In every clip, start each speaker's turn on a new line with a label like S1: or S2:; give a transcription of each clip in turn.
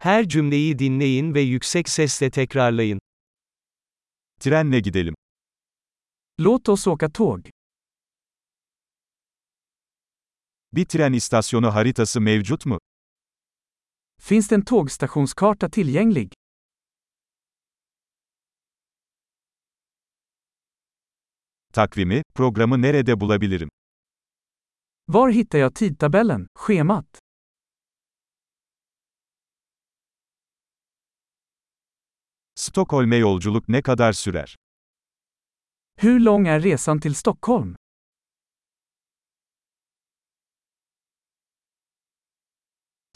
S1: Her cümleyi dinleyin ve yüksek sesle tekrarlayın.
S2: Trenle gidelim.
S1: Låt oss åka tåg.
S2: Bir tren istasyonu haritası mevcut mu?
S1: Finns det en tågstationskarta tillgänglig?
S2: Takvimi, programı nerede bulabilirim?
S1: Var hittar jag tidtabellen, schemat?
S2: Stockholm'e yolculuk ne kadar sürer?
S1: Hur lång är resan till Stockholm?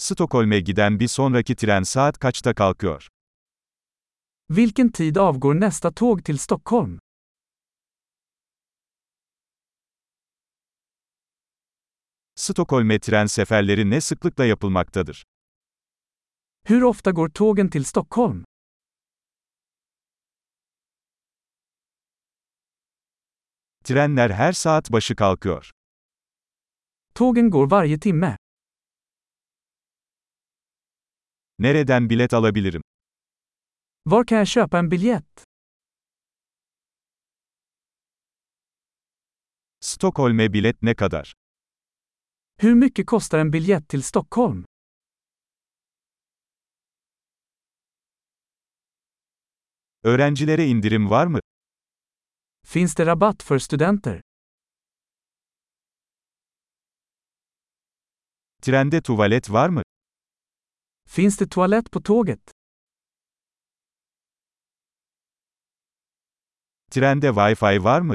S2: Stockholm'e giden bir sonraki tren saat kaçta kalkıyor?
S1: Vilken tid avgår nästa tåg till Stockholm?
S2: Stockholm'e tren seferleri ne sıklıkla yapılmaktadır?
S1: Hur ofta går tågen till Stockholm?
S2: Trenler her saat başı kalkıyor.
S1: Tågen går varje timme.
S2: Nereden bilet alabilirim?
S1: Var kan jag köpa en biljett?
S2: Stockholm'e bilet ne kadar?
S1: Hur mycket kostar en biljett till Stockholm?
S2: Öğrencilere indirim var mı?
S1: Finns det rabatt för studenter?
S2: Trende tuvalet var mı?
S1: Finns det toalett på tåget?
S2: Trende Wi-Fi var mı?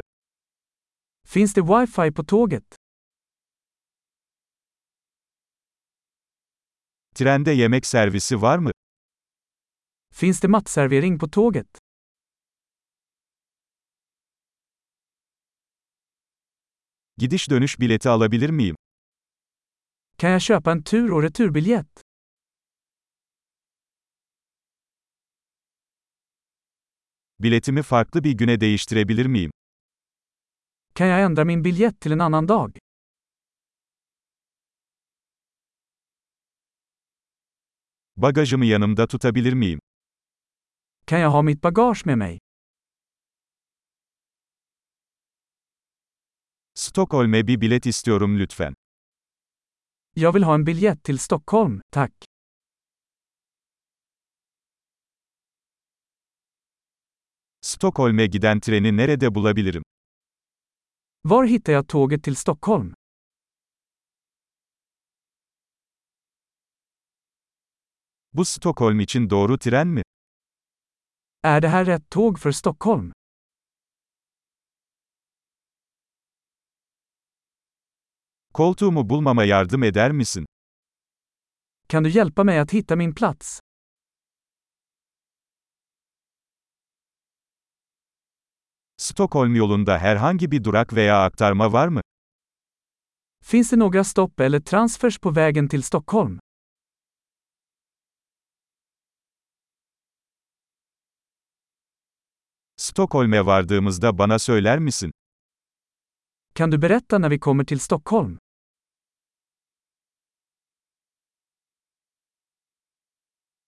S1: Finns det wifi på tåget?
S2: Trende yemek servisi var mı?
S1: Finns det matservering på tåget?
S2: Gidiş dönüş bileti alabilir miyim?
S1: Kan jag köpa en tur och returbiljett?
S2: Biletimi farklı bir güne değiştirebilir miyim?
S1: Kan jag ändra min biljett till en annan dag?
S2: Bagajımı yanımda tutabilir miyim?
S1: Kan jag ha mitt bagage med mig?
S2: Stockholm'e bir bilet istiyorum lütfen.
S1: Jag vill ha en biljett till Stockholm, tack.
S2: Stockholm'e giden treni nerede bulabilirim?
S1: Var hittar jag tåget till Stockholm?
S2: Bu Stockholm için doğru tren mi?
S1: Är det här rätt tåg för Stockholm?
S2: Koltuğumu bulmama yardım eder misin?
S1: Kan du hjälpa mig att hitta min plats?
S2: Stockholm yolunda herhangi bir durak veya aktarma var mı?
S1: Finns det några stopp eller transfers på vägen till Stockholm?
S2: Stockholm'e vardığımızda bana söyler misin?
S1: Kan du berätta när vi kommer till Stockholm?